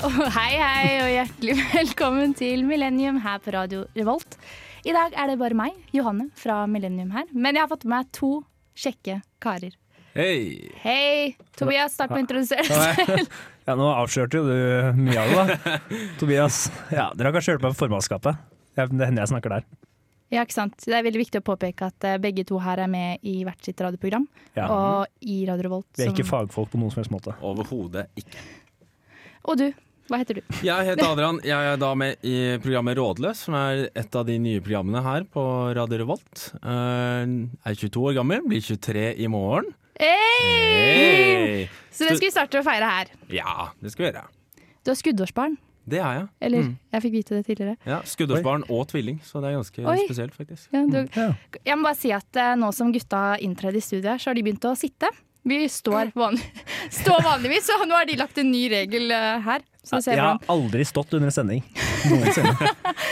og hei, hei, og hjertelig velkommen til Millennium her på Radio Revolt. I dag er det bare meg, Johanne fra Millennium her, men jeg har fått med meg to kjekke karer. Hei! Hei! Tobias, start med å introdusere deg. Ja, nå avslørte jo du mye av det, da. Tobias. Ja, dere har kanskje hørt meg på formannskapet. Ja, Det hender jeg snakker der. Ja, ikke sant? Det er veldig viktig å påpeke at eh, begge to her er med i hvert sitt radioprogram, Ja. og i Radio Revolt. Vi er som- ikke fagfolk på noen som helst måte. Overhodet ikke. og du, hva heter du? Jeg heter Adrian. Jeg er da med i programmet Rådløs, som er et av de nye programmene her på Radio Revolt. Eh, er 22 år gammel, blir 23 i morgen. Hei! Hei! Så det skal vi starte å feire her. Ja, det skal vi gjøre. Du har skuddårsbarn, Det er jeg. eller? Mm. Jeg fikk vite det tidligere. Ja, Skuddårsbarn og tvilling, så det er ganske Oi. spesielt, faktisk. Ja, du, Mm, Ja. Jeg må bare si at eh, nå som gutta inntrer i studiet, her, så har de begynt å sitte. Vi står, van står vanligvis, så nå har de lagt en ny regel eh, her. Så vi ser Jeg har hvordan aldri stått under en sending. Noensinne.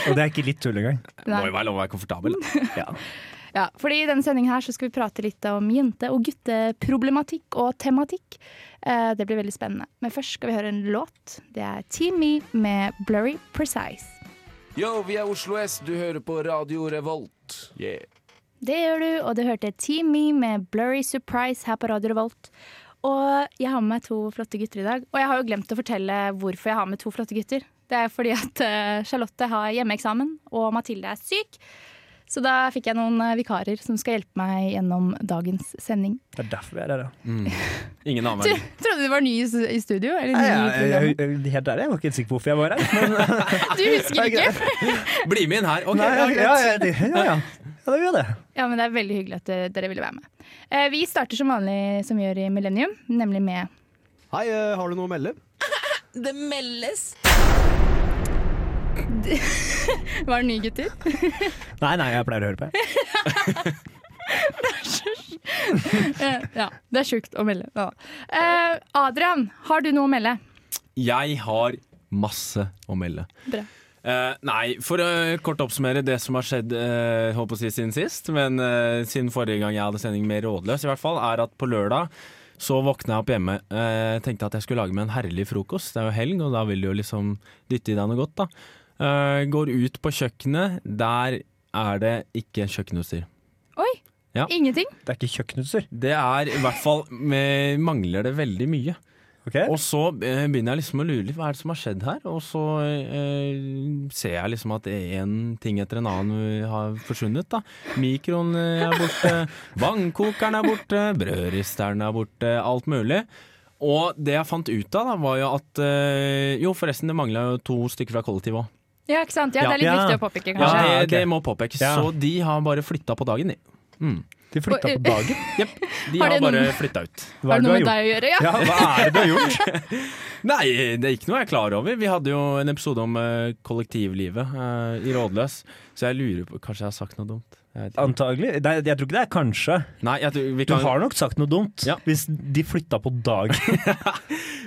Og det er ikke litt tull engang. Må Nei. jo være lov å være komfortabel. Ja. ja, fordi I denne sendingen her så skal vi prate litt om jente- og gutteproblematikk og tematikk. Eh, det blir veldig spennende. Men først skal vi høre en låt. Det er Team Me med Blurry Precise. Yo, vi er Oslo S. Du hører på Radio Revolt. Yeah. Det gjør du, og du hørte Team Me med Blurry Surprise her på Radio Revolt. Og jeg har med meg to flotte gutter i dag. Og jeg har jo glemt å fortelle hvorfor jeg har med to flotte gutter. Det er fordi at eh, Charlotte har hjemmeeksamen, og Mathilde er syk. Så da fikk jeg noen eh, vikarer som skal hjelpe meg gjennom dagens sending. Det er derfor vi er her, ja. Ingen annen Du, verden. trodde du var ny i s- i studio? Eller ny i Nei, jeg, jeg, programmet? jeg, helt ærlig, jeg var ikke helt sikker på hvorfor jeg var her. Du husker ikke? Bli med inn her. Ok, Nei, ja, ja, greit. ja, ja, det- ja, ja. ja det gjør det. Ja, men det er veldig hyggelig at eh, dere ville være med. Eh, Vi starter som vanlig som vi gjør i Millennium, nemlig med Hei, eh, har du noe å melde? Det meldes. Hva er nye gutter? Nei, nei, jeg pleier å høre på. jeg. Eh, Ja, det er sjukt å melde. Ja. Eh, Adrian, har du noe å melde? Jeg har masse å melde. Bra. Eh, nei, for å kort oppsummere det som har skjedd eh, håper å si siden sist, men eh, siden forrige gang jeg hadde sending med Rådløs, i hvert fall, er at på lørdag så våkna jeg opp hjemme. eh, tenkte at jeg skulle lage meg en herlig frokost. Det er jo helg, og da vil du jo liksom dytte i deg noe godt, da. Eh, går ut på kjøkkenet. Der er det ikke kjøkkenutstyr. Oi, Ja. ingenting? Det er ikke kjøkkenutstyr. Det er i hvert fall eh, Mangler det veldig mye. ok? Og så eh, begynner jeg liksom å lure litt hva er det som har skjedd her. Og så eh, ser jeg liksom at én ting etter en annen eh, har forsvunnet. da Mikroen eh, er borte, vannkokeren er borte, brødristeren er borte, alt mulig. Og det jeg fant ut av, da var jo at eh, Jo, forresten, det mangla jo to stykker fra kollektivet òg. Ja, ikke sant? Ja, det er litt Ja. viktig å påpeke, Ja, kanskje. det, ok. det må påpekes. Ja. Så de har bare flytta på dagen, de. De flytta på dagen. Jepp. De Har har det bare noen- flytta ut. Hva har er det det du noe har med gjort? deg å gjøre? Ja. Ja, hva er det du har gjort? Nei, det er ikke noe jeg er klar over. Vi hadde jo en episode om eh, kollektivlivet eh, i Rådløs, så jeg lurer på Kanskje jeg har sagt noe dumt? Jeg vet ikke. Antagelig. Nei, jeg tror ikke det er kanskje. Nei, jeg, tror- vi Du kan, har nok sagt noe dumt Ja. hvis de flytta på dag.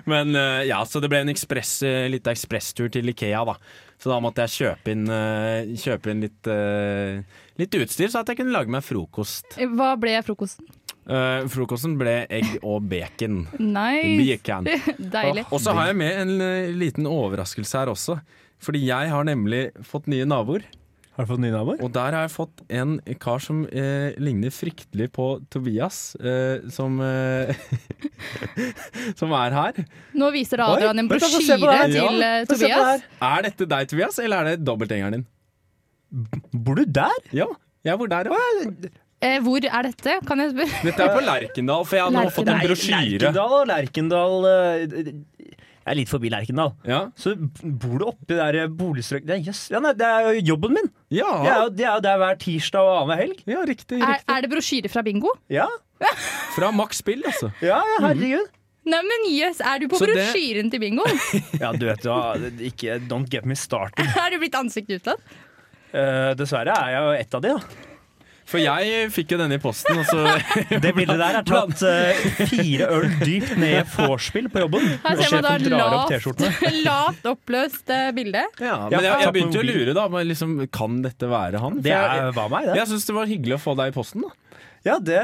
men eh, ja, så det ble en ekspress, eh, liten ekspresstur til Ikea, da. Så da måtte jeg kjøpe inn, eh, kjøpe inn litt, eh, litt utstyr, så at jeg kunne lage meg frokost. Hva ble frokosten? Eh, frokosten ble egg og bacon. Nice. Bacon. Deilig. Og så har jeg med en eh, liten overraskelse her også. Fordi jeg har nemlig fått nye naboer. Har du fått nye naboer? Og der har jeg fått en kar som eh, ligner fryktelig på Tobias, eh, som, eh, som er her. Nå viser Oi, Adrian en vent da, få se på det brosjyre her. til eh, Få se på det her. Tobias. Er dette deg, Tobias, eller er det dobbeltgjengeren din? Bor du der? Ja, jeg bor der. ja. Eh, Hvor er dette, kan jeg spørre? Dette er på Lerkendal, for jeg har nå fått en Lerkendal. brosjyre. Lerkendal og Lerkendal eh, Jeg er litt forbi Lerkendal. Ja. Så bor du oppi der eh, boligstrøk det, er- jøss. ja, nei, det er jo jobben min! Ja. Jeg er jo, jeg er jo der hver tirsdag og annenhver helg. ja, riktig. Er, riktig. er det brosjyre fra bingo? Ja, Fra Max Bill, altså. ja, ja herregud. Nei, men jøss, er du på Så det- brosjyren til bingo? Ja, du vet hva. det- Ikke, don't get me started. er du blitt ansiktet utad? Eh, dessverre er jeg jo ett av de, da. For jeg fikk jo denne i posten, og så Det bildet der er tatt eh, fire øl dypt ned i vorspiel på jobben. Her Og ser man da sjefen drar opp lavt, T-skjortene. lavt oppløst eh, bilde. ja, Men jeg, jeg tatt med begynte jo å mobil. lure, da. men Liksom, kan dette være han? For Det jeg, er, var meg, det. jeg syns det var hyggelig å få deg i posten, da. Ja, det,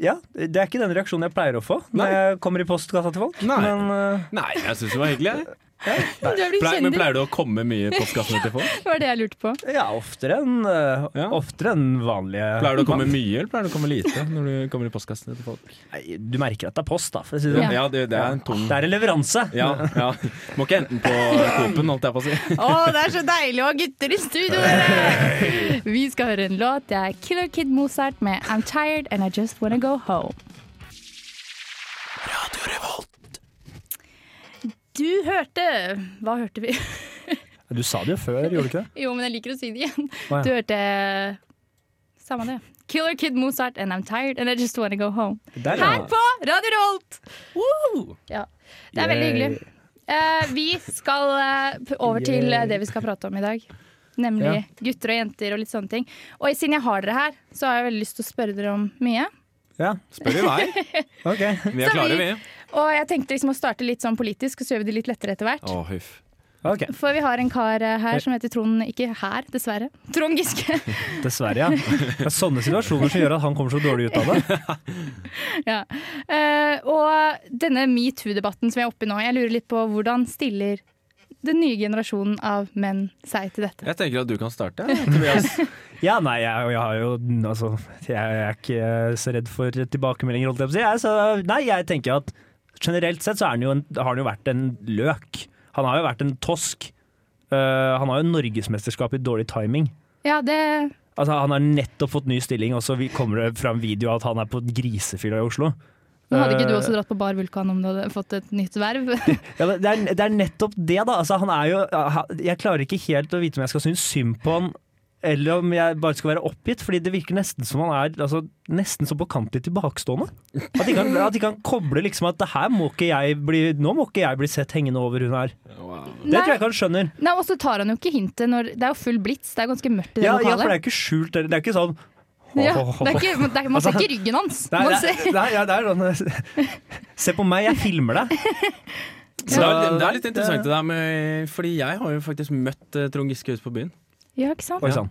ja, det er ikke den reaksjonen jeg pleier å få når Nei. jeg kommer i postkassa til folk. Nei. Men eh, Nei, jeg syns det var hyggelig. jeg. Du er blitt Pleier, men kjendis. pleier du å komme mye i postkassene til folk? Det var det jeg lurte på. Ja, oftere enn eh, Ja. oftere enn vanlige Pleier du å komme mye, eller pleier du å komme lite når du kommer i postkassene til folk? Nei, Du merker at det er post, da. For å si det. Ja. sånn. Ja, det, det er en tung Det er en leveranse. ja, ja. Må ikke hente den på Coop-en, holdt jeg på å si. Å, det er så deilig å ha gutter i studio! dere! Vi skal høre en låt. Det er Killer Kid Mozart med 'I'm Tired And I Just Wanna Go Home'. Du hørte Hva hørte vi? Du sa det jo før, gjorde du ikke det? Jo, men jeg liker å si det igjen. Å, ja. Du hørte Samme det. Killer Kid Mozart and I'm tired and I just wanna go home. Der, ja. Her på Radio Rolt! Ja. Det er veldig Yay. hyggelig. Eh, vi skal eh, p- over til eh, det vi skal prate om i dag. Nemlig gutter og jenter og litt sånne ting. Og siden jeg har dere her, så har jeg veldig lyst til å spørre dere om mye. Ja, Spør i vei. ok. Vi er Så klare, vi. Og jeg tenkte liksom å starte litt sånn politisk, og så gjør vi det litt lettere etter hvert. Å, huff. Ok, For vi har en kar eh, her som heter Trond Ikke her, dessverre. Trond Giske. Dessverre, ja. Det er sånne situasjoner som gjør at han kommer så dårlig ut av det. Ja. Eh, og denne metoo-debatten som vi er oppe i nå, jeg lurer litt på hvordan stiller den nye generasjonen av menn seg til dette? Jeg tenker at du kan starte. Tobias. Ja, nei, jeg, jeg har jo Altså, jeg er ikke så redd for tilbakemeldinger, holdt jeg på å si. Jeg, er så, nei, jeg tenker at generelt sett så er han jo en, har han jo vært en løk. Han har jo vært en tosk. Eh, han har jo norgesmesterskap i dårlig timing. Ja, det Altså, han har nettopp fått ny stilling, og så vi- kommer det fram video av at han er på grisefylla i Oslo. Nå hadde ikke du Eh, også dratt på Bar Vulkan om du hadde fått et nytt verv. Ja, men det, er, det er nettopp det, da. Altså, han er jo, han- jeg klarer ikke helt å vite om jeg skal synes synd på han, eller om jeg bare skal være oppgitt. Fordi det virker nesten som han er altså, nesten så påkantelig tilbakestående. At ikke han, at ikke han kobler liksom at det her må ikke jeg bli, nå må ikke jeg bli sett hengende over hun her. Det tror jeg ikke han skjønner. Nei, Og så tar han jo ikke hintet når Det er jo full blitz, det er ganske mørkt i det Ja, ja, for det lokalet. er ikke skjult. Det er ikke sånn Ja, det er ikke, det er, man ser ikke ryggen hans. Nei, Man det ser, er, nei, ja, det er sånn Se på meg, jeg filmer deg. Så det, er, det er litt interessant det der med Fordi jeg har jo faktisk møtt eh, Trond Giske ute på byen. ja, ikke sant? Oi sann.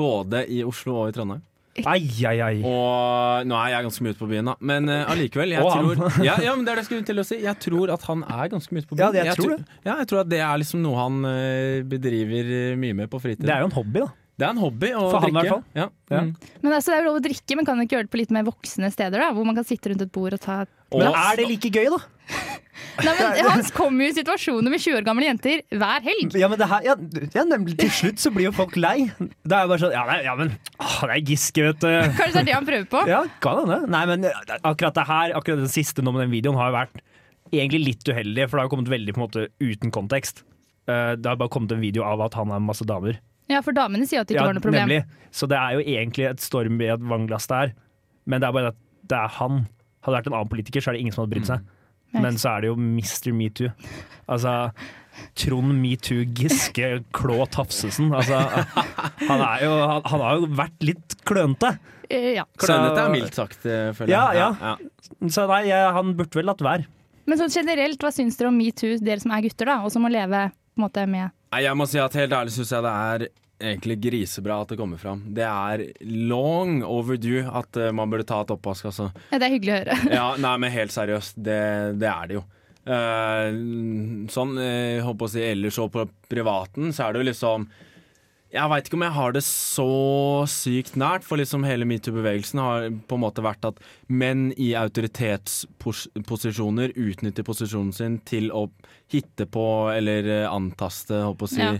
Både i Oslo og i Trondheim. Ai, ai, ai. Og nå er jeg ganske mye ute på byen, da. Men eh, allikevel. jeg Og han. tror ja, ja, men det er det jeg skulle til å si. Jeg tror at han er ganske mye ute på byen. Ja, det- jeg tror det. Ja, jeg tror at det er liksom noe han eh, bedriver eh, mye med på fritiden. Det er jo en hobby, da. Det er en hobby å For han i drikke. hvert fall. Ja. Ja. Mm. Men altså, Det er jo lov å drikke, men kan ikke gjøre det på litt mer voksne steder? da Hvor man kan sitte rundt et bord og ta Og, Men er det like gøy, da? Nei, men Hans kommer jo i situasjoner med 20 år gamle jenter hver helg. Ja, men det her, ja, ja, nemlig til slutt så blir jo folk lei. Da er jeg bare sånn Ja, nei, ja men åh, det er Giske, vet du. Kanskje det er det han prøver på? Ja, kan hende. Nei, men akkurat det her, akkurat den siste nå med den videoen, har jo vært egentlig litt uheldig, for det har kommet veldig på en måte uten kontekst. Eh, Det har bare kommet en video av at han har masse damer. Ja, for damene sier at det ikke Ja, var noe problem. nemlig. Så det er jo egentlig et storm i et vannglass der, men det er bare at det er han. Hadde det vært en annen politiker, så er det ingen som hadde brydd Mm. seg. Ja, Men så er det jo Mr. Metoo. Altså Trond Metoo Giske Klå Tafsesen. Altså, han, er jo, han, han har jo vært litt klønete. Eh, ja. Klønete er mildt sagt, eh, føler jeg. Ja, ja. ja. Så nei, jeg, han burde vel latt være. Men sånn generelt, hva syns dere om metoo, dere som er gutter, da, og som må leve på en måte med Nei, jeg må si at helt ærlig syns jeg det er egentlig grisebra at det kommer fram. Det er long overdue at eh, man burde ta et oppvask, altså. ja, Det er hyggelig å høre. Ja, nei, men helt seriøst, det, det er det jo. Eh, sånn, eh, holdt på å si, ellers og på privaten, så er det jo liksom Jeg veit ikke om jeg har det så sykt nært, for liksom hele metoo-bevegelsen har på en måte vært at menn i autoritetsposisjoner utnytter posisjonen sin til å hitte på eller eh, antaste, holdt på å si, Ja.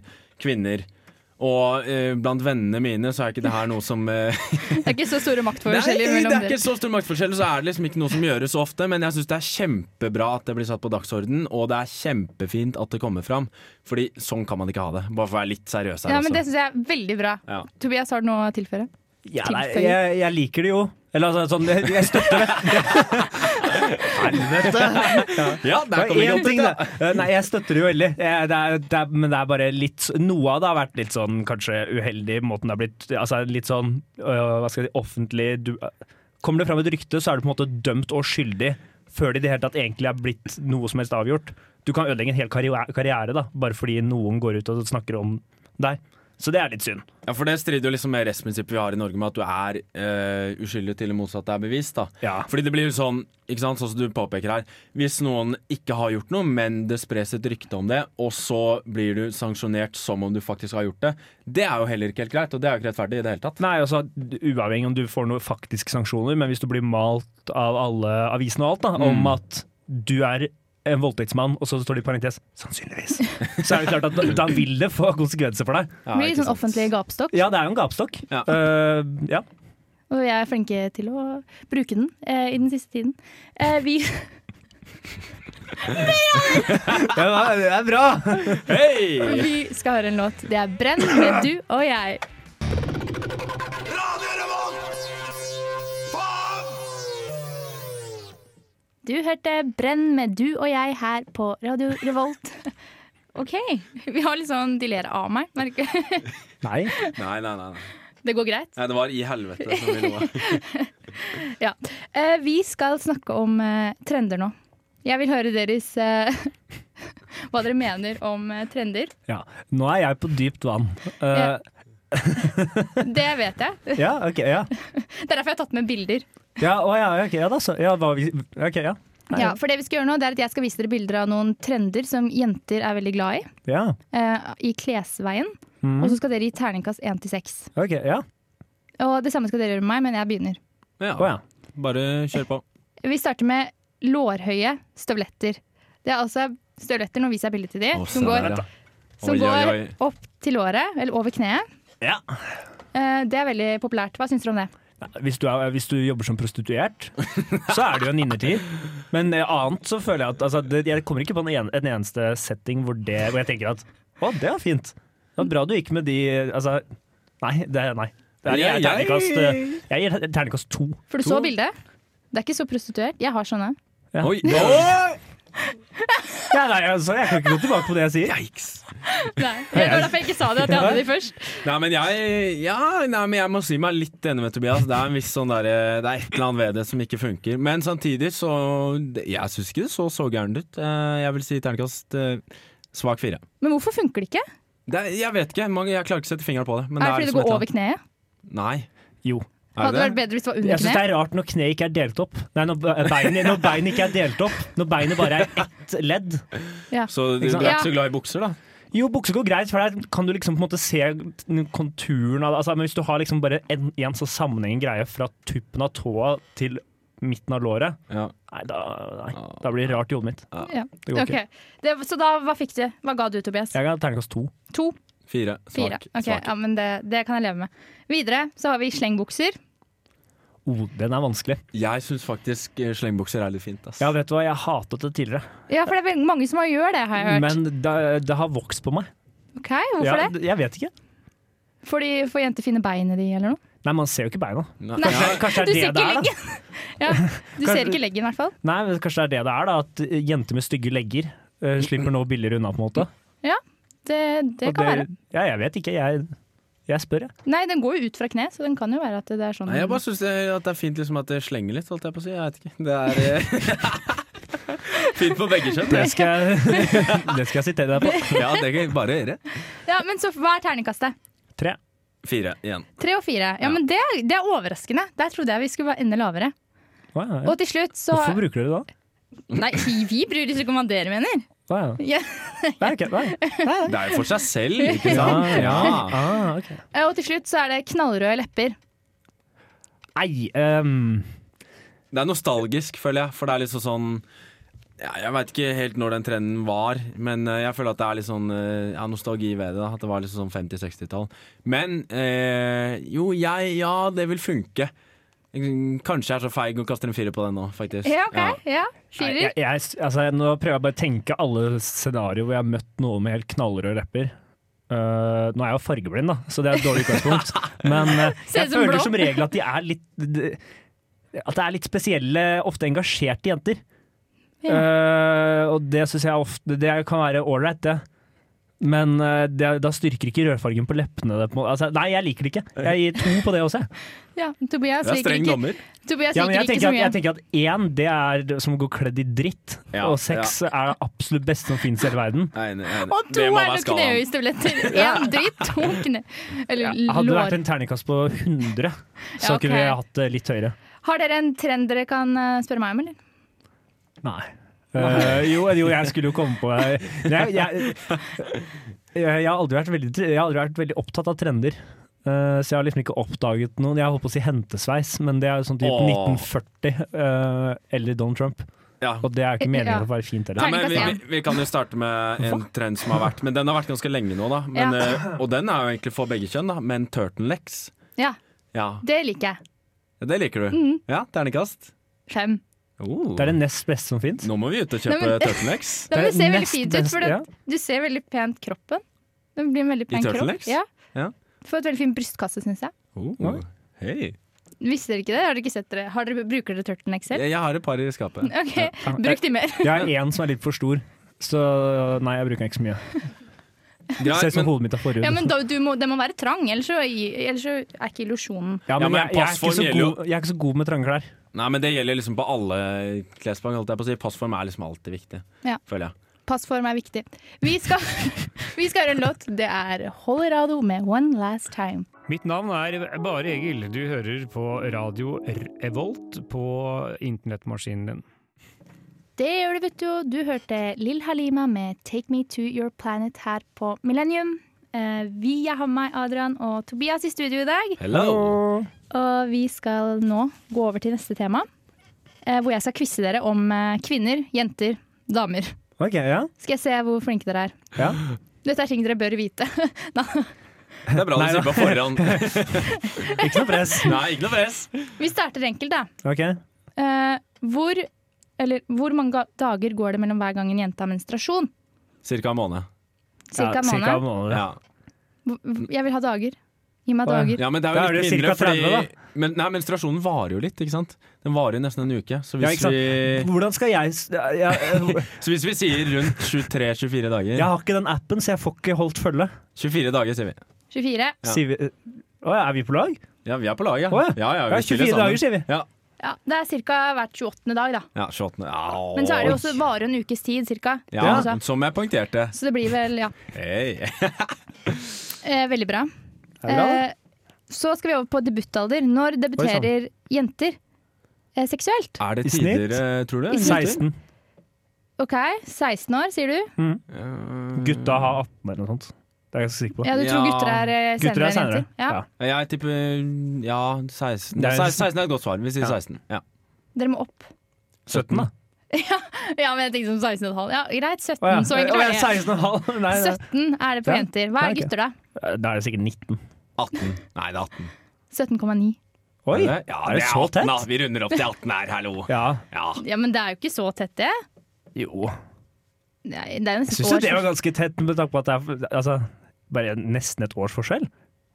kvinner. Og eh, blant vennene mine så er ikke det her noe som eh, Det er ikke så store maktforskjeller Nei, det mellom er dere. ikke så stor maktforskjell, så er det liksom ikke noe som gjøres så ofte. Men jeg syns det er kjempebra at det blir satt på dagsorden, og det er kjempefint at det kommer fram. Fordi sånn kan man ikke ha det. Bare for å være litt seriøs her Ja, men også. Det syns jeg er veldig bra. Ja. Tobias, har du noe å tilføre? Ja, nei, Tilføye. jeg, jeg liker det jo. Eller altså, sånn, jeg, jeg støtter det. Helvete! Ja, Det der er kom vi én godt ting, ut, da. da. Eh, Nei, jeg støtter det jo veldig. Eh, Det er, det er, men det er bare litt s- Noe av det har vært litt sånn kanskje uheldig, måten det har blitt Altså litt sånn øh, hva skal jeg si, offentlig du, Kommer det fram et rykte, så er du på en måte dømt og skyldig før det i det hele tatt egentlig er blitt noe som helst avgjort. Du kan ødelegge en hel karriere, karriere da, bare fordi noen går ut og snakker om deg. Så det er litt synd. Ja, for det strider jo liksom med rettsprinsippet vi har i Norge, med at du er eh, uskyldig til det motsatte er bevist. da. Ja. Fordi det blir jo sånn, ikke sant, sånn som du påpeker her, hvis noen ikke har gjort noe, men det spres et rykte om det, og så blir du sanksjonert som om du faktisk har gjort det, det er jo heller ikke helt greit, og det er jo ikke rettferdig i det hele tatt. Nei, altså uavhengig om du får noen faktiske sanksjoner, men hvis du blir malt av alle avisene og alt da, Mm. om at du er en voldtektsmann, og så står det i parentes 'sannsynligvis', så er det klart at da, da vil det få konsekvenser for deg. Det blir litt sånn offentlig gapestokk. Ja, det er jo en gapestokk. Ja. Eh, ja. Og vi er flinke til å bruke den eh, i den siste tiden. Eh, vi, det er bra! Hei! vi skal høre en låt. Det er 'Brenn' med du og jeg. Radio Revolt! Faen! Du hørte 'Brenn' med du og jeg her på Radio Revolt. OK. Vi har litt sånn De ler av meg, merker jeg. Nei. Nei, nei, nei. nei. Det går greit? Nei, Det var i helvete som vi lå. Ja. Eh, vi skal snakke om eh, trender nå. Jeg vil høre deres eh, Hva dere mener om eh, trender. Ja. Nå er jeg på dypt vann. Eh, Det vet jeg. ja, ok, ja. Det er derfor jeg har tatt med bilder. Ja, å, ja, ok, ja da, så. Ja, hva vi, ok, ja. Nei, Ja, for det vi skal gjøre nå, det er at jeg skal vise dere bilder av noen trender som jenter er veldig glad i. ja. Mm, eh, I klesveien. Mm. Og så skal dere gi terningkast 1 til 6. Ok, ja. Og det samme skal dere gjøre med meg, men jeg begynner. Ja, Å ja. Bare kjør på. Vi starter med lårhøye støvletter. Det er altså støvletter, nå viser jeg bildet til de, Å, se som går, der, ja. som Oi, oi, går oi. opp til låret, eller over kneet. ja. Eh, det er veldig populært. Hva syns dere om det? Hvis du, er, hvis du jobber som prostituert, så er det jo en innertid. Men eh, annet så føler jeg at altså, det, Jeg kommer ikke på en, en, en eneste setting hvor, det, hvor jeg tenker at å, det var fint. Det var bra du gikk med de Altså, nei. Det, nei. Det er, jeg, Jeg- gir terningkast, eh, jeg gir ter- terningkast to. For du så bildet? Det er ikke så prostituert. Jeg har sånne. Ja. Oi! Ja, nei, altså, jeg kan ikke gå tilbake på det jeg sier. Yikes. Nei, Det var derfor jeg ikke sa det, at jeg hadde de først. Nei, men jeg, ja, nei, men jeg må si meg litt enig med Tobias. Det er, en viss sånn der, eh, det er et eller annet ved det som ikke funker. Men samtidig så det- Jeg syns ikke det så så gærent ut. Eh, Jeg vil si terningkast eh, svak fire. Men hvorfor funker det ikke? Det er, jeg vet ikke, mange, jeg klarer ikke å sette fingeren på det. Men Er det er fordi det liksom går et over kneet? eller annet. Nei. Jo. Er Hadde det det vært det? bedre hvis det var Jeg under syns det kneet? er rart når kneet ikke er delt opp. Nei, når be- beinet, når beinet ikke er delt opp. Når beinet bare er ett ledd. Ja. Så du Ikke du sant? er ikke Ja. så glad i bukser, da? Jo, bukse går greit, for der kan du liksom på en måte se konturen av det. Altså, men hvis du har liksom bare en, en så sammenhengende greie fra tuppen av tåa til midten av låret, Ja. nei, da, nei, da blir det rart i hodet mitt. Ja. Det går ikke. Ok. Det, så da, hva fikk du? Hva ga du, Tobias? Jeg ga terningkast to. To? Fire. Svak. Fire? Ok, svak. ja, men det, det kan jeg leve med. Videre så har vi slengbukser. Oh, den er vanskelig. Jeg syns faktisk eh, slengbukser er litt fint. Ass. Ja, vet du hva, jeg hatet det tidligere, Ja, for det er veldig mange som har gjør det, har jeg hørt. men det, det har vokst på meg. ok, Hvorfor Ja, det? Jeg vet ikke. Fordi Får jenter finne beinet de, eller noe? Nei, man ser jo ikke beina. Nei. Nei. Ja, Kanskje Du det ser ikke er det det er, da. leggen! ja, du ser ikke leggen, i hvert fall. Nei, men kanskje det er det det er, da. At eh, jenter med stygge legger eh, slipper nå billigere unna, på en måte. Det, det Og kan være. Ja, jeg vet ikke. Jeg, jeg spør, jeg. Nei, den går jo ut fra kne, så den kan jo være at det er sånn. Nei, jeg bare syns det, at det er fint liksom, at det slenger litt, holdt jeg på å si. Jeg vet ikke. Det er eh, Fint på begge kjønn. Det skal jeg, det skal jeg sitere deg på. Ja, det kan jeg bare gjøre. Ja, Men så hva er terningkastet? Tre. Fire igjen. Tre og fire. Ja, Ja. men det, er- det er overraskende. Der trodde jeg vi skulle være enda lavere. Å, ja, ja. Og til slutt så Hvorfor bruker dere det da? Nei, vi, vi bryr oss ikke om hva dere mener. Å, ja. Ja. Nei, ok, nei. Det er jo for seg selv, ikke sant? Ja, Ja. Ah, ok. Eh, Og til slutt så er det knallrøde lepper. Nei, ehm, Det er nostalgisk, føler jeg, for det er litt sånn sånn ja, Jeg veit ikke helt når den trenden var, men eh, jeg føler at det er litt sånn eh, ja, nostalgi ved det. da, At det var litt sånn 50-60-tall. Men eh, jo, jeg Ja, det vil funke. Kanskje jeg er så feig og kaster en firer på den nå, faktisk. Ja, ok. Ja. nei, Firer. jeg, jeg, altså, nå prøver jeg bare å tenke alle scenarioer hvor jeg har møtt noen med helt knallrøde lepper. Eh, nå er jeg jo fargeblind, da, så det er et dårlig utgangspunkt. Men eh, Ser jeg ut som føler blå. som regel at de er litt de- At det er litt spesielle, ofte engasjerte jenter. Ja. Eh, og det syns jeg ofte Det kan være ålreit, det. Men eh, det, da styrker ikke rødfargen på leppene det. På, en måte. altså, nei, jeg liker det ikke. Jeg gir to på det også. jeg. Ja, Tobias Det er Altså, liker streng ikke, dommer. Tobias Ja, liker men jeg ikke tenker, så at, mye. jeg tenker at én, det er som å gå kledd i dritt. Ja, og seks er det absolutt beste som finnes i hele verden. Nei, nei, nei. Og to Det er må være noen skalaen. knehøystøvletter. Én dritt, to kne... Eller Hadde det lår. vært en terningkast på 100, Ja, så ok. kunne vi hatt det litt høyere. Har dere en trend dere kan eh, spørre meg om, eller? Nei. Eh, jo, jo, jeg skulle jo komme på jeg, jeg, jeg, jeg, har aldri vært veldig, jeg har aldri vært veldig opptatt av trender. Eh, så jeg har liksom ikke oppdaget noen. Jeg holdt på å si hentesveis, men det er jo sånn typ Åh. 1940 eh, eller Donald Trump. Ja. Og det er ikke meningen Ja. å være fint Nei, heller. men vi, Terningkast vi, vi kan jo starte med en trend som har vært, men den har vært ganske lenge nå, da. Men, Ja. eh, og den er jo egentlig for begge kjønn, da, men turtlenecks. Ja, Ja, det liker jeg. det liker du. Mhm. Ja, ternekast. Fem. Oh. Det er det nest beste som fins. Nå må vi ut og Nei, kjøpe men- turtlenecks. Nei, men det Det er ser veldig nest fint ut, best, for det, ja. du ser veldig pent kroppen. Det blir en veldig I pen kropp. turtlenecks? Ja. Ja. Du får et veldig fin brystkasse, syns jeg. Oh. Hei. Visste dere ikke det? Har dere ikke sett dere? Har dere, bruker dere turtlenecks selv? Jeg, jeg har et par i skapet. Ok, Bruk de mer. Jeg har én som er litt for stor, så nei, jeg bruker den ikke så mye. Ser Greit, ut som men, hodet mitt er forhud. Ja, men da, du må, Den må være trang, ellers så, ellers så er ikke illusjonen Ja, Ja, men men jeg, jeg, er ikke passform så gjelder jo- god, jeg er ikke så god med trange klær. nei, men det gjelder liksom på alle klesplagg, holdt jeg på å si. Passform er liksom alltid viktig, Ja. føler jeg. Passform er viktig. Vi skal, vi skal høre en låt. Det er Holerado med One Last Time. Mitt navn er Bare Egil. Du hører på radio Revolt på internettmaskinen din. Det gjør du, vet du. Du hørte Lill Halima med 'Take Me To Your Planet' her på Millennium. Eh, Vi jeg har med meg Adrian og Tobias i studio i dag. Hello! Og vi skal nå gå over til neste tema, eh, hvor jeg skal quize dere om eh, kvinner, jenter, damer. Ok, ja. Skal jeg se hvor flinke dere er. Ja. Dette er ting dere bør vite. Det er bra du Nei, sier på forhånd. Ikke noe press. Nei, ikke noe press. Vi starter enkelt, da. Ok. Eh, Hvor, eller, hvor mange ga- dager går det mellom hver gang en jente har menstruasjon? Cirka en måned. Cirka en Ja, cirka en måned? måned. Ja. Hvor- Jeg vil ha dager. Gi meg Å, ja. dager. Ja, men det er Da jo er litt det mindre, cirka 30 fordi men, nei, Menstruasjonen varer jo litt, ikke sant? Den varer jo nesten en uke. Så Ja, hvis, ikke sant? vi, Hvordan skal jeg s- ja, jeg, så hvis vi sier rundt 23-24 dager jeg har ikke den appen, så jeg får ikke holdt følge. 24 dager, sier vi. 24. Ja. Sier vi, å, ja, er vi på lag? Ja, vi er på laget. Å, ja, ja, Ja, vi spiller 24 sammen. dager, sier vi. Ja, Ja, det er ca. hvert 28. dag, da. ja 28. Au. Men så er det jo også varer en ukes tid, ca. ja, Altså, Som jeg poengterte. så det blir vel, ja. Hei. Eh, veldig bra. Er det bra? da? Eh, så skal vi over på debutalder. sånn. Når debuterer jenter eh, seksuelt? Er det I snitt? tider, eh, tror du? I snitt. 16. OK, 16 år, sier du? Eh, Gutta har 18 eller noe sånt. Det er jeg ganske sikker på. Ja, du tror Ja. gutter er eh, Gutter senere er enn senere. jenter? Ja. Ja. Jeg tipper ja, 16. Det er- 16 16 er et godt svar. Vi sier Ja. 16. Ja. Dere må opp. 17, Mm, da. Ja, men jeg tenkte sånn som 16,5. Ja, greit, 17. Å, ja. Så enkelt Å, ja, var det. 16,5. Nei, nei. 17 er det på Ja. jenter. Hva Nei, er ok. gutter, da? Da er det sikkert 19. 18. Nei, det er 18. 17,9. Oi! Er det? Ja, er det det er så 18, da. tett? Vi runder opp til 18 her, hallo. Ja. Ja. Ja, men det er jo ikke så tett, det. Jo. Nei, Det er Jeg nesten syns et år. jo det var ganske tett med tanke på at det er altså, bare nesten et års forskjell.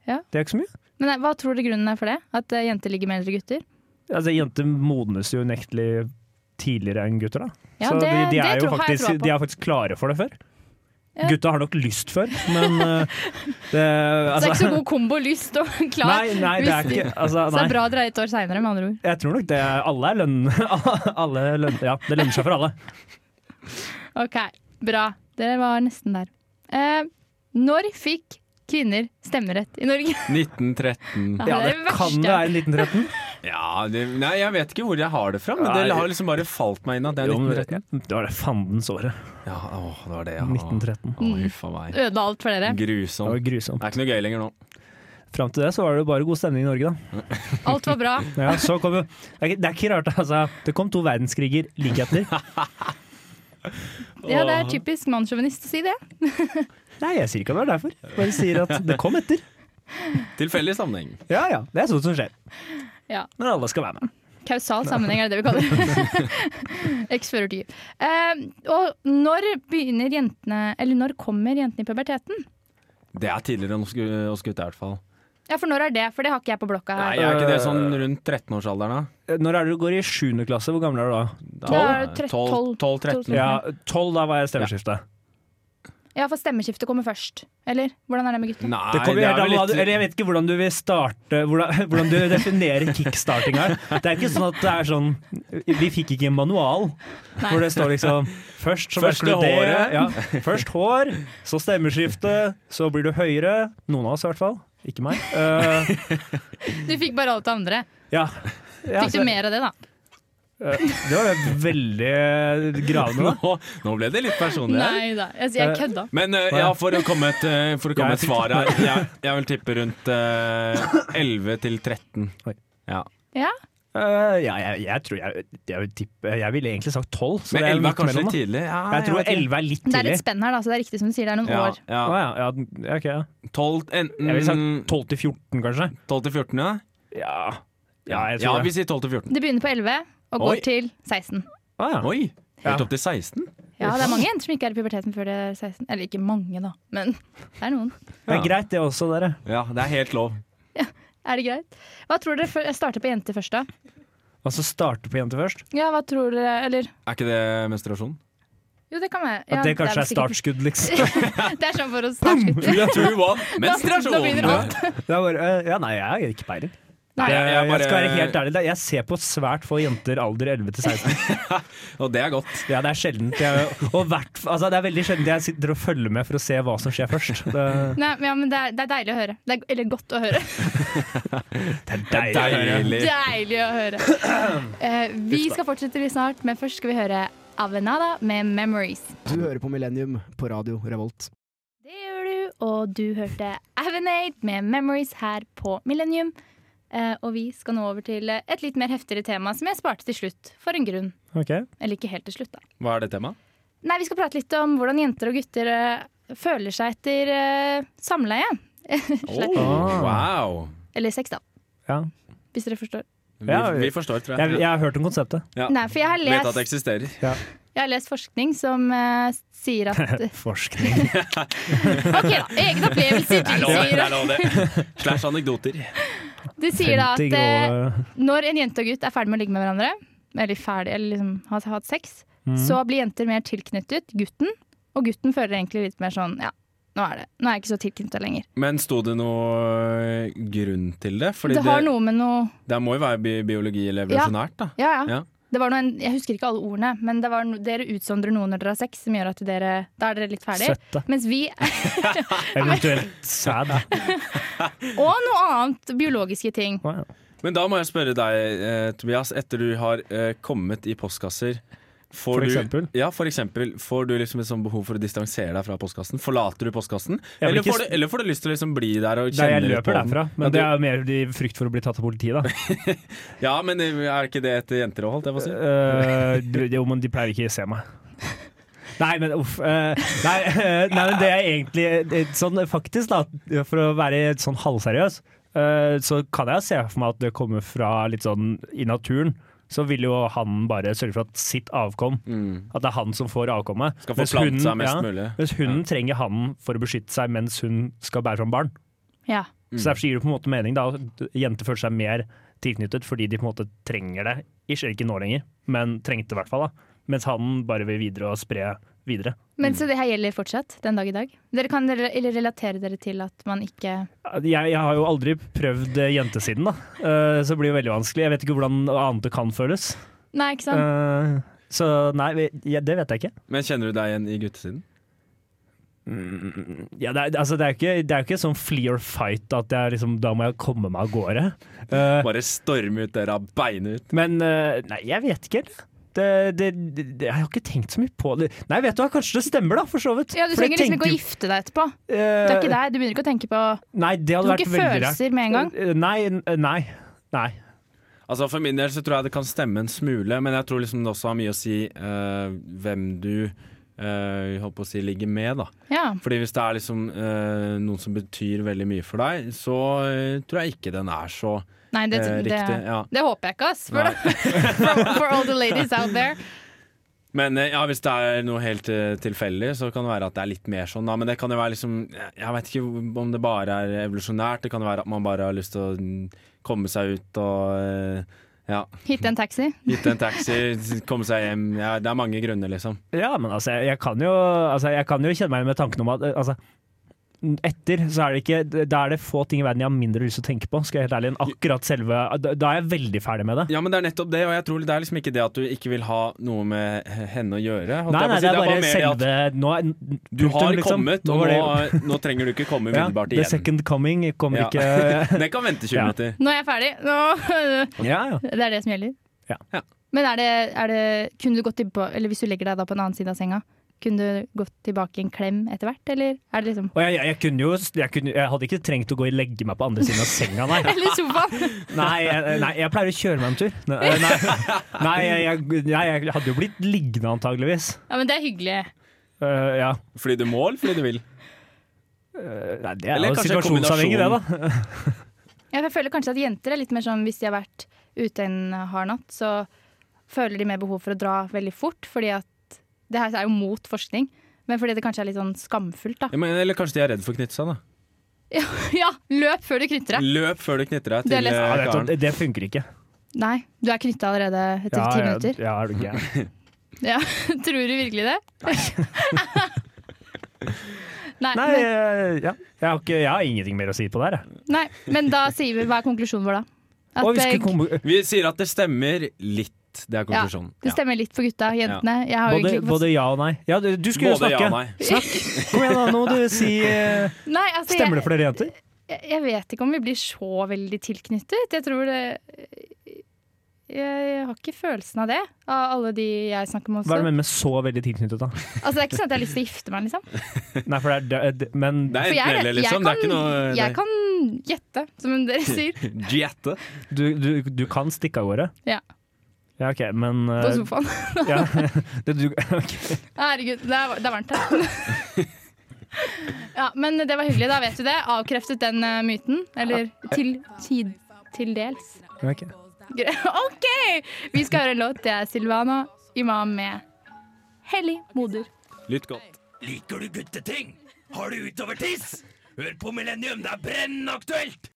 Ja. Det er ikke så mye. Men eh, hva tror du grunnen er for det? At eh, jenter ligger med eldre gutter? Altså, Jenter modnes jo unektelig tidligere enn gutter, da. Ja, så det- de, de det er jo tror- har jeg faktisk, troa på. de er faktisk klare for det før. Ja. Gutta har nok lyst før, men eh, det, Så det er altså, ikke så god kombo lyst og klar. Nei, nei, det er Hvis- ikke altså, Så det er nei. bra dere er et år seinere, med andre ord. Jeg tror nok det er alle er lønn... Alle lønn ja, det lønner seg for alle. Ok, Bra. Dere var nesten der. Eh, når fikk kvinner stemmerett i Norge? 1913. Ja, det verste. kan det være 1913. Ja, det, nei, jeg vet ikke hvor jeg har det fra, men Nei. det har liksom bare falt meg inn at det er Jo, men 1913. Det var det fandens året. Ja, åh, det var det, ja. Sånn. 1913. Åh, huff a meg. Ødela alt for dere. Det var Grusomt. grusomt. Det er ikke noe gøy lenger nå. Fram til det så var det jo bare god stemning i Norge, da. Alt var bra. Ja, så kom jo, det, er ikke, det er ikke rart, altså. Det kom to verdenskriger like etter. Ja, Det er typisk mannssjåvinist å si det. Nei, jeg sier ikke at det var derfor. Jeg Bare sier at det kom etter. Tilfeldig sammenheng. Ja ja, det er sånt som skjer. Ja. Når alle skal være med. Kausal sammenheng er det det vi kaller det. X fører til Y. Eh, og når begynner jentene Eller når kommer jentene i puberteten? Det er tidligere enn oss gu- oss gutter, i hvert fall. Ja, for når er det? For det har ikke jeg på blokka Nei, her. er ikke det sånn rundt 13-årsalderen, da? Når er det du går i sjuende klasse? Hvor gammel er du da? Da er det tre- tolv- 12-13. Ja, tolv da var jeg stemmeskifte. Ja, for stemmeskiftet kommer først. Eller? Hvordan er det med gutta? Nei, Det kommer jo er helt an vel hva du- litt- Eller jeg vet ikke hvordan du vil starte Hvordan, hvordan du definerer kickstarting her. Det er ikke sånn at det er sånn Vi fikk ikke en manual hvor det står liksom Først så Først merker du det. håret. Ja, først hår, så stemmeskifte, så blir du høyere. Noen av oss i hvert fall. Ikke meg. Eh, Du fikk bare alt det andre. ja. Ja, Fikk så- du mer av det, da? eh, Det var veldig gravende. da. nå, nå ble det litt personlig. her. Nei da. Jeg, jeg kødda. Men eh, ja, for å komme et, eh, for å Ja, komme jeg et fikk- svar her. Jeg, jeg vil tippe rundt eh, 11 til 13. Oi. Ja. Ja. Eh, ja, jeg, jeg tror jeg, jeg, vil tippe, jeg ville egentlig sagt tolv. så Men det 11 er er midt kanskje mellom, litt da. tidlig? Ja, Jeg tror vet ikke. 11 er litt Ah, Det er tidlig. litt spenn her, da, så det er riktig som du sier. Det er noen ja, år. ja. Å, ja, ja, ok, ja. 12, Jeg ville enten sagt 12 til 14, kanskje. 12 til 14, ja? Ja, ja jeg tror det. vi sier 12 til 14. Det begynner på 11 og Oi. går til 16. Å, Ah, ja. Oi! Ja. Helt opp til 16? Ja, det er mange jenter som ikke er i puberteten før de er 16. Eller ikke mange, da, men det er noen. Det er greit, det også, dere. Ja, det er helt lov. Er det greit? Hva tror dere før- Jeg starter på jenter først, da. Altså starte på jente først. Ja, hva tror dere Eller Er ikke det menstruasjon? jo, det kan være. At Ja, det kanskje vel er, startskudd, liksom. sikkert- Det er sånn for å starte. Vil jeg tro hva? Nå begynner Menstruasjon! alt. Det er bare, eh, ja, nei, jeg har ikke peiling. Nei, Jeg, Ja, jeg, jeg bare- skal være helt ærlig, det er- jeg ser på svært få jenter alder 11 til 16. Og det er godt. Ja, det er sjeldent. Jeg, og hvert, altså, det er veldig sjeldent jeg sitter og følger med for å se hva som skjer først. Det, Nei, men ja, men det er, det er deilig å høre. Det er, eller godt å høre. det er deilig. Deilig å høre. Eh, vi skal fortsette litt snart, men først skal vi høre Avenada med 'Memories'. Du hører på Millennium på radio Revolt. Det gjør du, og du hørte Avenade med 'Memories' her på Millennium. Eh, og vi skal nå over til eh, et litt mer heftigere tema som jeg sparte til slutt, for en grunn. Ok. Eller ikke helt til slutt, da. Hva er det temaet? Nei, vi skal prate litt om hvordan jenter og gutter eh, føler seg etter eh, samleie. Slett. Ah. wow! Eller sex, da. Ja. Hvis dere forstår. Vi, Ja, vi forstår, tror Jeg, jeg. jeg har hørt om konseptet. Ja. Nei, for jeg har Vet at lest, det eksisterer. jeg har lest forskning som eh, sier at Forskning. OK, da. Egne opplevelser. Det er Du lov, det sier, er lov, det. Slash anekdoter. du sier da at 50 eh, grove- Når en jente og gutt er ferdig med å ligge med hverandre, eller ferdig, eller liksom har hatt sex, så blir jenter mer tilknyttet gutten, og gutten føler egentlig litt mer sånn ja, nå er det, nå er jeg ikke så tilknyttet lenger. Men sto det noe grunn til det? Fordi det har noe med noe det må jo være bi biologi eller evolusjonært, da. ja, ja. Ja. Det var noe, en- jeg husker ikke alle ordene, men det var no, dere utsondrer noe når dere har sex, som gjør at dere, da er dere litt ferdig. Søtte. Mens vi, Eventuelt sæd. og noe annet biologiske ting. Wow. Men da må jeg spørre deg, eh, Tobias, etter du har eh, kommet i postkasser får For du- eksempel? Ja, for eksempel. Får du liksom et sånt behov for å distansere deg fra postkassen? Forlater du postkassen? Jeg vil Eller, ikke får du, eller får du lyst til å liksom bli der og Der kjenne jeg litt på løper den? derfra. Ja, Men du- det er mer i frykt for å bli tatt av politiet, da. Ja, men eh, er ikke det etter jenter òg, holdt jeg på å si? Eh, du- jo, men de pleier ikke å se meg. Nei, men uff. eh, nei, eh, nei, men det er egentlig eh, sånn faktisk, da, for å være sånn halvseriøs, eh, så kan jeg se for meg at det kommer fra litt sånn i naturen. Så vil jo han bare sørge for at sitt avkom, at det er han som får avkommet. Mm. Skal Mens forplante hunden- seg mest mulig. Mens hunden trenger han for å beskytte seg mens hun skal bære fram barn. Ja. Så derfor gir det på en måte mening da, at jenter føler seg mer tilknyttet fordi de på en måte trenger det. Ish, ikke nå lenger, men trengte det i hvert fall. da. Mens han bare vil videre og spre videre. Men så det her gjelder fortsatt, den dag i dag. Dere kan rel- eller relatere dere til at man ikke Jeg, jeg har jo aldri prøvd eh, jentesiden, da. Eh, så det blir jo veldig vanskelig. Jeg vet ikke hvordan annet det kan føles. Nei, ikke sant? Eh, så nei, vi- ja, det vet jeg ikke. Men kjenner du deg igjen i guttesiden? Ja, det, er, altså, det er jo ikke, det er jo ikke sånn flee or fight at jeg liksom, da må jeg komme meg av gårde. Eh, Bare storme ut døra, beine ut. Men eh, nei, jeg vet ikke. helt. Det, det, det, det, jeg har ikke tenkt så mye på det. Nei, vet du hva, kanskje det stemmer, da, Eh, for så vidt. Ja, Du trenger liksom ikke å gifte deg etterpå. Du er ikke der, du begynner ikke å tenke på eh, Nei, det Du hadde har vært ikke veldig rart. følelser med en gang. Eh, Nei, n- nei. Nei. Altså For min del så tror jeg det kan stemme en smule, men jeg tror liksom det også har mye å si eh, hvem du eh, holdt på å si ligger med, da. Ja. Fordi hvis det er liksom eh, noen som betyr veldig mye for deg, så eh, tror jeg ikke den er så Nei, det, eh, det, riktig. Ja. det håper jeg ikke, ass. For, Nei. for, for all the ladies out there. Men eh, ja, hvis det er noe helt eh, tilfeldig, så kan det være at det er litt mer sånn. Da. Men det kan jo være liksom jeg- Jeg vet ikke om det bare er evolusjonært. Det kan jo være at man bare har lyst til å mm, komme seg ut og eh, Ja. Hitte en taxi. Gitt en taxi, komme seg hjem. Ja, det er mange grunner, liksom. Ja, men altså, jeg, jeg kan jo, altså, jeg kan jo kjenne meg igjen med tanken om at eh, altså, etter, så er det ikke Da er det få ting i verden jeg har mindre lyst til å tenke på, skal jeg helt ærlig, enn akkurat selve Da da er jeg veldig ferdig med det. Ja, men det er nettopp det, og jeg tror det er liksom ikke det at du ikke vil ha noe med henne å gjøre. holdt Nei, jeg på å nei, si. det er bare mer det at selve Nå er Du har kommet, og liksom. nå, det, nå trenger du ikke komme ja, umiddelbart The igjen. second coming kommer Ja. ikke Den kan vente 20 Ja. minutter. Nå er jeg ferdig. Nå. Ja, ja. Det er det som gjelder. Ja. Ja. Men er det, er det Kunne du gått tilbake Eller hvis du legger deg da på en annen side av senga, kunne du gått tilbake i en klem etter hvert, eller er det liksom Og jeg, jeg, jeg kunne jo jeg, kunne, jeg hadde ikke trengt å gå og legge meg på andre siden av senga, nei. Eller sofaen! Nei, jeg, nei, jeg pleier å kjøre meg en tur. Nei, nei, nei jeg, jeg, nei, jeg hadde jo blitt liggende antageligvis. Ja, men det er hyggelig. Eh, ja. Fordi du må, eller fordi du vil? Eh, nei, det er Eller jo kanskje en situasjonsavhengig, det, kombinasjon. da. Ja, for jeg føler kanskje at jenter er litt mer sånn hvis de har vært ute en hard natt, så føler de mer behov for å dra veldig fort, fordi at Det her er jo mot forskning, men fordi det kanskje er litt sånn skamfullt, da. Ja, men, eller kanskje de er redd for å knytte seg, da. Ja, løp før du knytter deg! Løp før du knytter deg Det til er lett. eh, Ja, vet du, karen. det, det funker ikke. Nei, du er knytta allerede etter Ja, ti ja, minutter. ja, er du gæren. Ja, Tror du virkelig det? Nei, Nei, men, eh, ja. jeg, har ikke, jeg har ingenting mer å si på det her. jeg. nei, men da sier vi hva er konklusjonen vår, da? At eh, Og vi skal det, komme- Vi sier at det stemmer litt. Det er konklusjonen. det stemmer litt for gutta. Jentene. Jeg har jo både, egentlig ikke fått både ja og nei. Ja, du, du skulle jo Både ja snakke. og nei. Snakk. Kom igjen, da. Nå må du si eh, Nei, altså, Stemmer jeg, det for dere jenter? jeg, jeg vet ikke om vi blir så veldig tilknyttet. Jeg tror det Jeg har ikke følelsen av det, av alle de jeg snakker med Hva er det også. med med så veldig tilknyttet, da? Altså, det er ikke sånn at jeg har lyst til å gifte meg, liksom. Nei, for det er det- Men Det For er enten jeg, eller, jeg, liksom. det kan, er ikke noe jeg kan gjette, som dere sier, Gjette. du, du, du kan stikke av gårde? Ja. Ja, OK, men eh, på sofaen. ja, det, du, ok. Herregud, det er, det er varmt her. ja, men det var hyggelig, da vet du det. Avkreftet den eh, myten. Eller til, tid, til dels. Ok. Gre- OK! Vi skal høre en låt. Det er Silvana Imam med 'Hellig moder'. Lytt godt. Liker du gutteting? Har du utovertiss? Hør på Millennium, det er brennende aktuelt!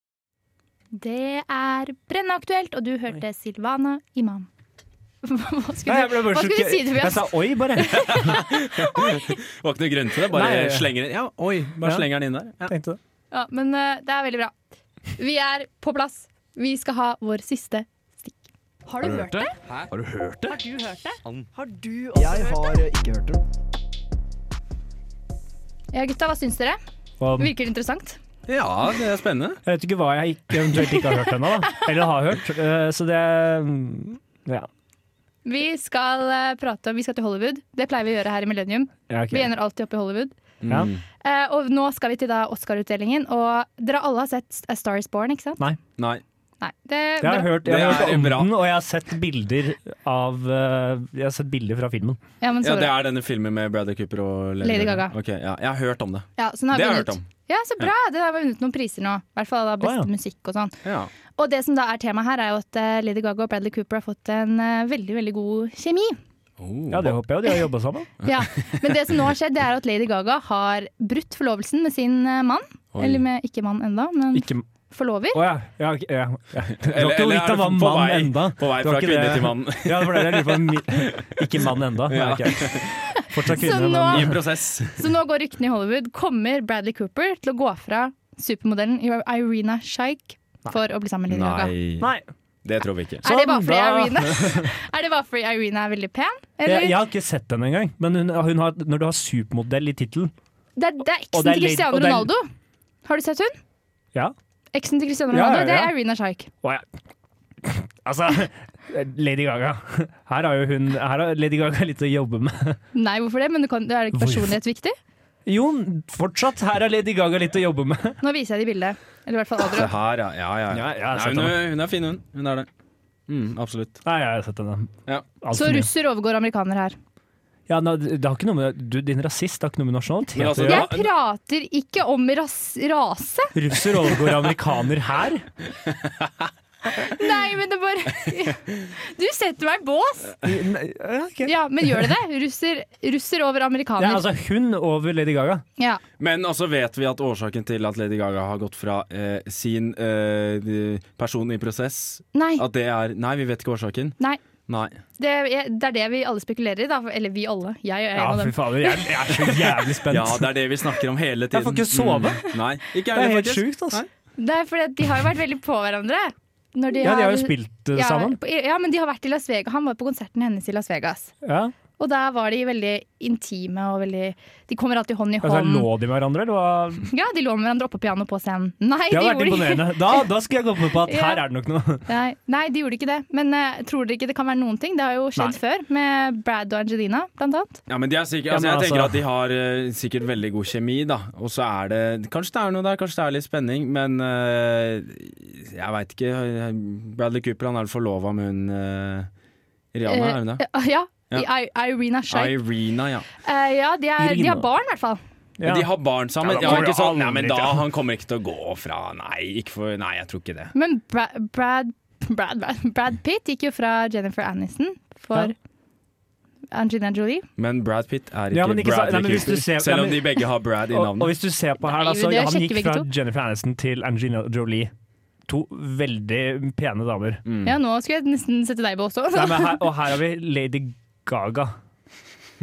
Det er brennende aktuelt, og du hørte Silvana Imam. Hva Nei, skulle jeg ble du, bare hva skulle sjokker- du si til Jeg Tobias? sa oi, bare. Jeg Var ikke noe grunn til det. Bare Nei, ja, ja. slenger den Ja, oi, bare Ja. slenger den inn der. Ja. tenkte det. Ja, men eh, det er veldig bra. Vi er på plass. Vi skal ha vår siste stikk. Har du hørt det? Har du hørt det? Jeg har ikke hørt det. Ja, gutta, hva syns dere? Og jeg Virker det interessant? ja, det er spennende. vet ikke hva jeg ikke, eventuelt ikke har hørt ennå, da. Eller har hørt. eh, Så det mm, Ja. Vi skal eh, prate om, vi skal til Hollywood. Det pleier vi å gjøre her i Millennium. ja ok. Vi ender alltid opp i Hollywood. Ja. Mm. Eh, og nå skal vi til da Oscar-utdelingen. Og dere alle har sett A Star Is Born, ikke sant? Nei. Nei. Det, Jeg har dere- hørt, jeg har Det er hørt om bra. den, og jeg har sett bilder av eh, Jeg har sett bilder fra filmen. ja, men så Ja, det bra. er denne filmen med Bradley Cooper og Lady Gaga. Ok, ja. Jeg har hørt om det. Ja, så den har Det har jeg vunnet. hørt om. Ja, så bra! Det har vunnet noen priser nå. I hvert fall da beste Å, ja. musikk og sånn. Ja. Og det som da er temaet her, er jo at eh, Lady Gaga og Bradley Cooper har fått en eh, veldig, veldig god kjemi. Ja, det håper jeg, og de har jobba sammen. Ja, Men det som nå har skjedd, det er at Lady Gaga har brutt forlovelsen med sin eh, mann. Oi. Eller med ikke mann enda, men Ikke forlover. Å ja. ja, ok, ja, ja. Du har Eller- ikke eller litt er av hva det på mann vei- enda. på vei Du har fra ikke kvinne det- til mann. Ja, for det er det jeg lurer på. Mi- Ikke mann enda. Ja. Ja. ok. Fortsatt Så kvinne, nå- I men en prosess. Så nå går ryktene i Hollywood. Kommer Bradley Cooper til å gå fra supermodellen Irina Shayk for å bli sammen med Lady Gaga? Nei, Nei. det tror vi ikke. Er det bare fordi Sånn, da. Irina Er det bare fordi Irina er veldig pen? Eller? Jeg, jeg har ikke sett henne engang, men hun, hun har, når du har supermodell i tittelen Det, er, det er eksen Og det til er Lady- Cristiano og det er- Ronaldo. Har du sett hun? Ja. Eksen til Cristiano Ja, Ronaldo, ja, ja. det er Irina Shayk. Å ja. Altså, Lady Gaga. Her har jo hun Her har Lady Gaga litt å jobbe med. Nei, hvorfor det? Men du kan, er det ikke Hvorfor? personlighet viktig? Jo, fortsatt. Her har Lady Gaga litt å jobbe med. Nå viser jeg de bildet. Eller i hvert fall Se Adrian. her, ja. Ja, ja. Ja, jeg har Nei, sett hun, henne. er- hun er fin, hun. Hun er det. Mm, absolutt. Nei, jeg har sett henne. Ja. Alt Så for mye. russer overgår amerikaner her. Ja, nei, det har ikke noe med du, Din rasist har ikke noe med nasjonalitet Men å altså, gjøre. Jeg prater ikke om ras rase! Russer overgår amerikaner her. Nei, men det bare Du setter meg i bås! Nei, ja, ok. Ja, men gjør det det? Russer, russer over Ja, amerikaner. altså hun over Lady Gaga. Ja. Men også vet vi at årsaken til at Lady Gaga har gått fra eh, sin eh, de- person i prosess Nei, At det er Nei, vi vet ikke årsaken. nei. Nei. Det, er- det er det vi alle spekulerer i, da. Eller vi alle. Jeg er en Ja, av fy dem. fader, jeg, jeg er så jævlig spent. Ja, det er det vi snakker om hele tiden. Jeg får ikke sove. Mm. Nei, ikke jeg det er heller, helt faktisk. sjukt, altså. Det er fordi at de har jo vært veldig på hverandre. Når de Ja, de har har- jo spilt eh, ja, sammen. på- Ja, men de har vært i Las Vegas. Han var på konserten hennes i Las Vegas. Ja. Og der var de veldig intime og veldig De kommer alltid hånd i Altså, hånd. lå de med hverandre, eller hva? Ja, de lå med hverandre oppå pianoet på scenen. Nei, Det de hadde vært gjorde ikke imponerende. Da, da skulle jeg komme på at Ja. her er det nok noe. Nei, nei, de gjorde ikke det. Men eh, tror dere ikke det kan være noen ting? Det har jo skjedd Nei. før, med Brad og Angelina, blant annet. Ja, men de er sikkert, Ja, altså, men jeg tenker altså- at de har eh, sikkert veldig god kjemi, da. Og så er det Kanskje det er noe der, kanskje det er litt spenning, men eh, jeg veit ikke. Bradley Cooper, han er vel forlova med hun eh, Rihanna, er hun det? Eh, ja. Ja. I- I- Irina Shayk. Eh, Irina, ja. ja, de, er, de har Irina. barn, i hvert fall. Ja. Men de har barn sammen. Ja, da Ja, ikke kommer det sånn, nei, aldri men til da å- han kommer ikke til å gå fra Nei, ikke for, nei jeg tror ikke det. Men Bra Brad, Brad, Brad, Brad Pitt gikk jo fra Jennifer Aniston for Ja. Angelina Jolie. Men Brad Pitt er ikke, Ja, men ikke sant- Bradley nei, men hvis du Cooper, ser- selv nei, om men- de begge har Brad i Og, og navnet. hvis du ser på Nei, her, da, så det han sjekker gikk vi ikke fra to. Jennifer Aniston til Angelina Jolie. To veldig pene damer. Mm, Ja, nå skulle jeg nesten sette deg på også. Nei, men her, og her har vi Lady Gaga.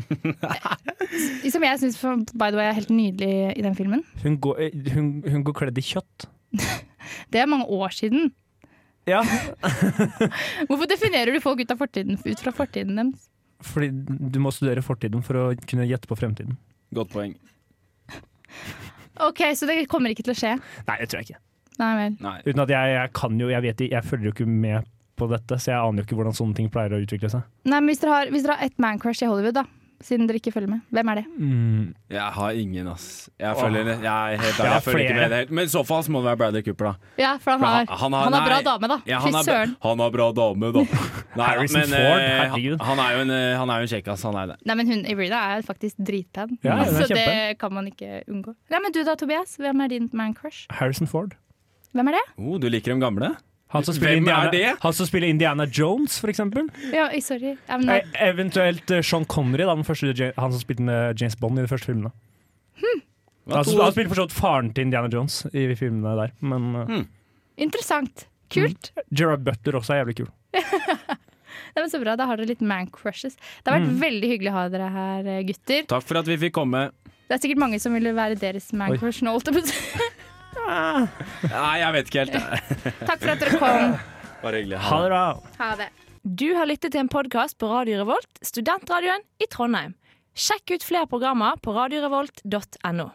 Som jeg syns, by the way, er helt nydelig i den filmen. Hun går, eh, hun, hun går kledd i kjøtt. Det er mange år siden. Ja, Hvorfor definerer du folk ut, av fortiden, ut fra fortiden deres? fordi du må studere fortiden for å kunne gjette på fremtiden. Godt poeng. OK, så det kommer ikke til å skje. Nei, det tror jeg ikke. Nei vel. Nei. Uten at jeg, jeg kan jo, jeg vet ikke- jeg følger jo ikke med på dette, så jeg aner jo ikke hvordan sånne ting pleier å utvikle seg. Nei, men hvis dere har, hvis dere har ett mancrush i Hollywood, da, siden dere ikke følger med, hvem er det? Mm, Jeg har ingen, ass. Jeg følger, jeg er helt ærlig, Jeg har jeg følger ikke flere. med i det helt. Men i så fall så må det være Bradley Cooper, da. Ja, for han har, han har, nei. bra dame, da. Ja, han, Fy har, søren. bra- han har bra dame, da. Nei, Harrison men, Ford, eh, herregud. han, han er jo en, eh, han er jo en kjekkas, han er det. Nei, men hun Irina er faktisk dritpen. Ja, hun er så det kjempepen. kan man ikke unngå. Nei, men du da, Tobias. Hvem er din mancrush? Harrison Ford. Hvem er det? Oh, du liker dem gamle? Han som Hvem spiller, er Indiana, det? han som spiller Indiana Jones, for eksempel. Ja, oi, sorry. I'm Eh, not. Eventuelt eh, Sean Connery, da, den første, Ja- han som spilte eh, James Bond i de første filmene. Han, to- han spilte for så vidt faren til Indiana Jones i de filmene der, men eh, Interessant. Kult. Gerard Butler også er jævlig kul. Nei, men Så bra. Da har dere litt mancrushes. Det har vært veldig hyggelig å ha dere her, eh, gutter. Takk for at vi fikk komme. Det er sikkert mange som ville være deres mancrush nå. holdt jeg på å si. Nei, jeg vet ikke helt. Takk for at dere kom. Bare hyggelig. Ha det bra! Ha det. Du har lyttet til en podkast på Radio Revolt, studentradioen i Trondheim. Sjekk ut flere programmer på radiorevolt.no.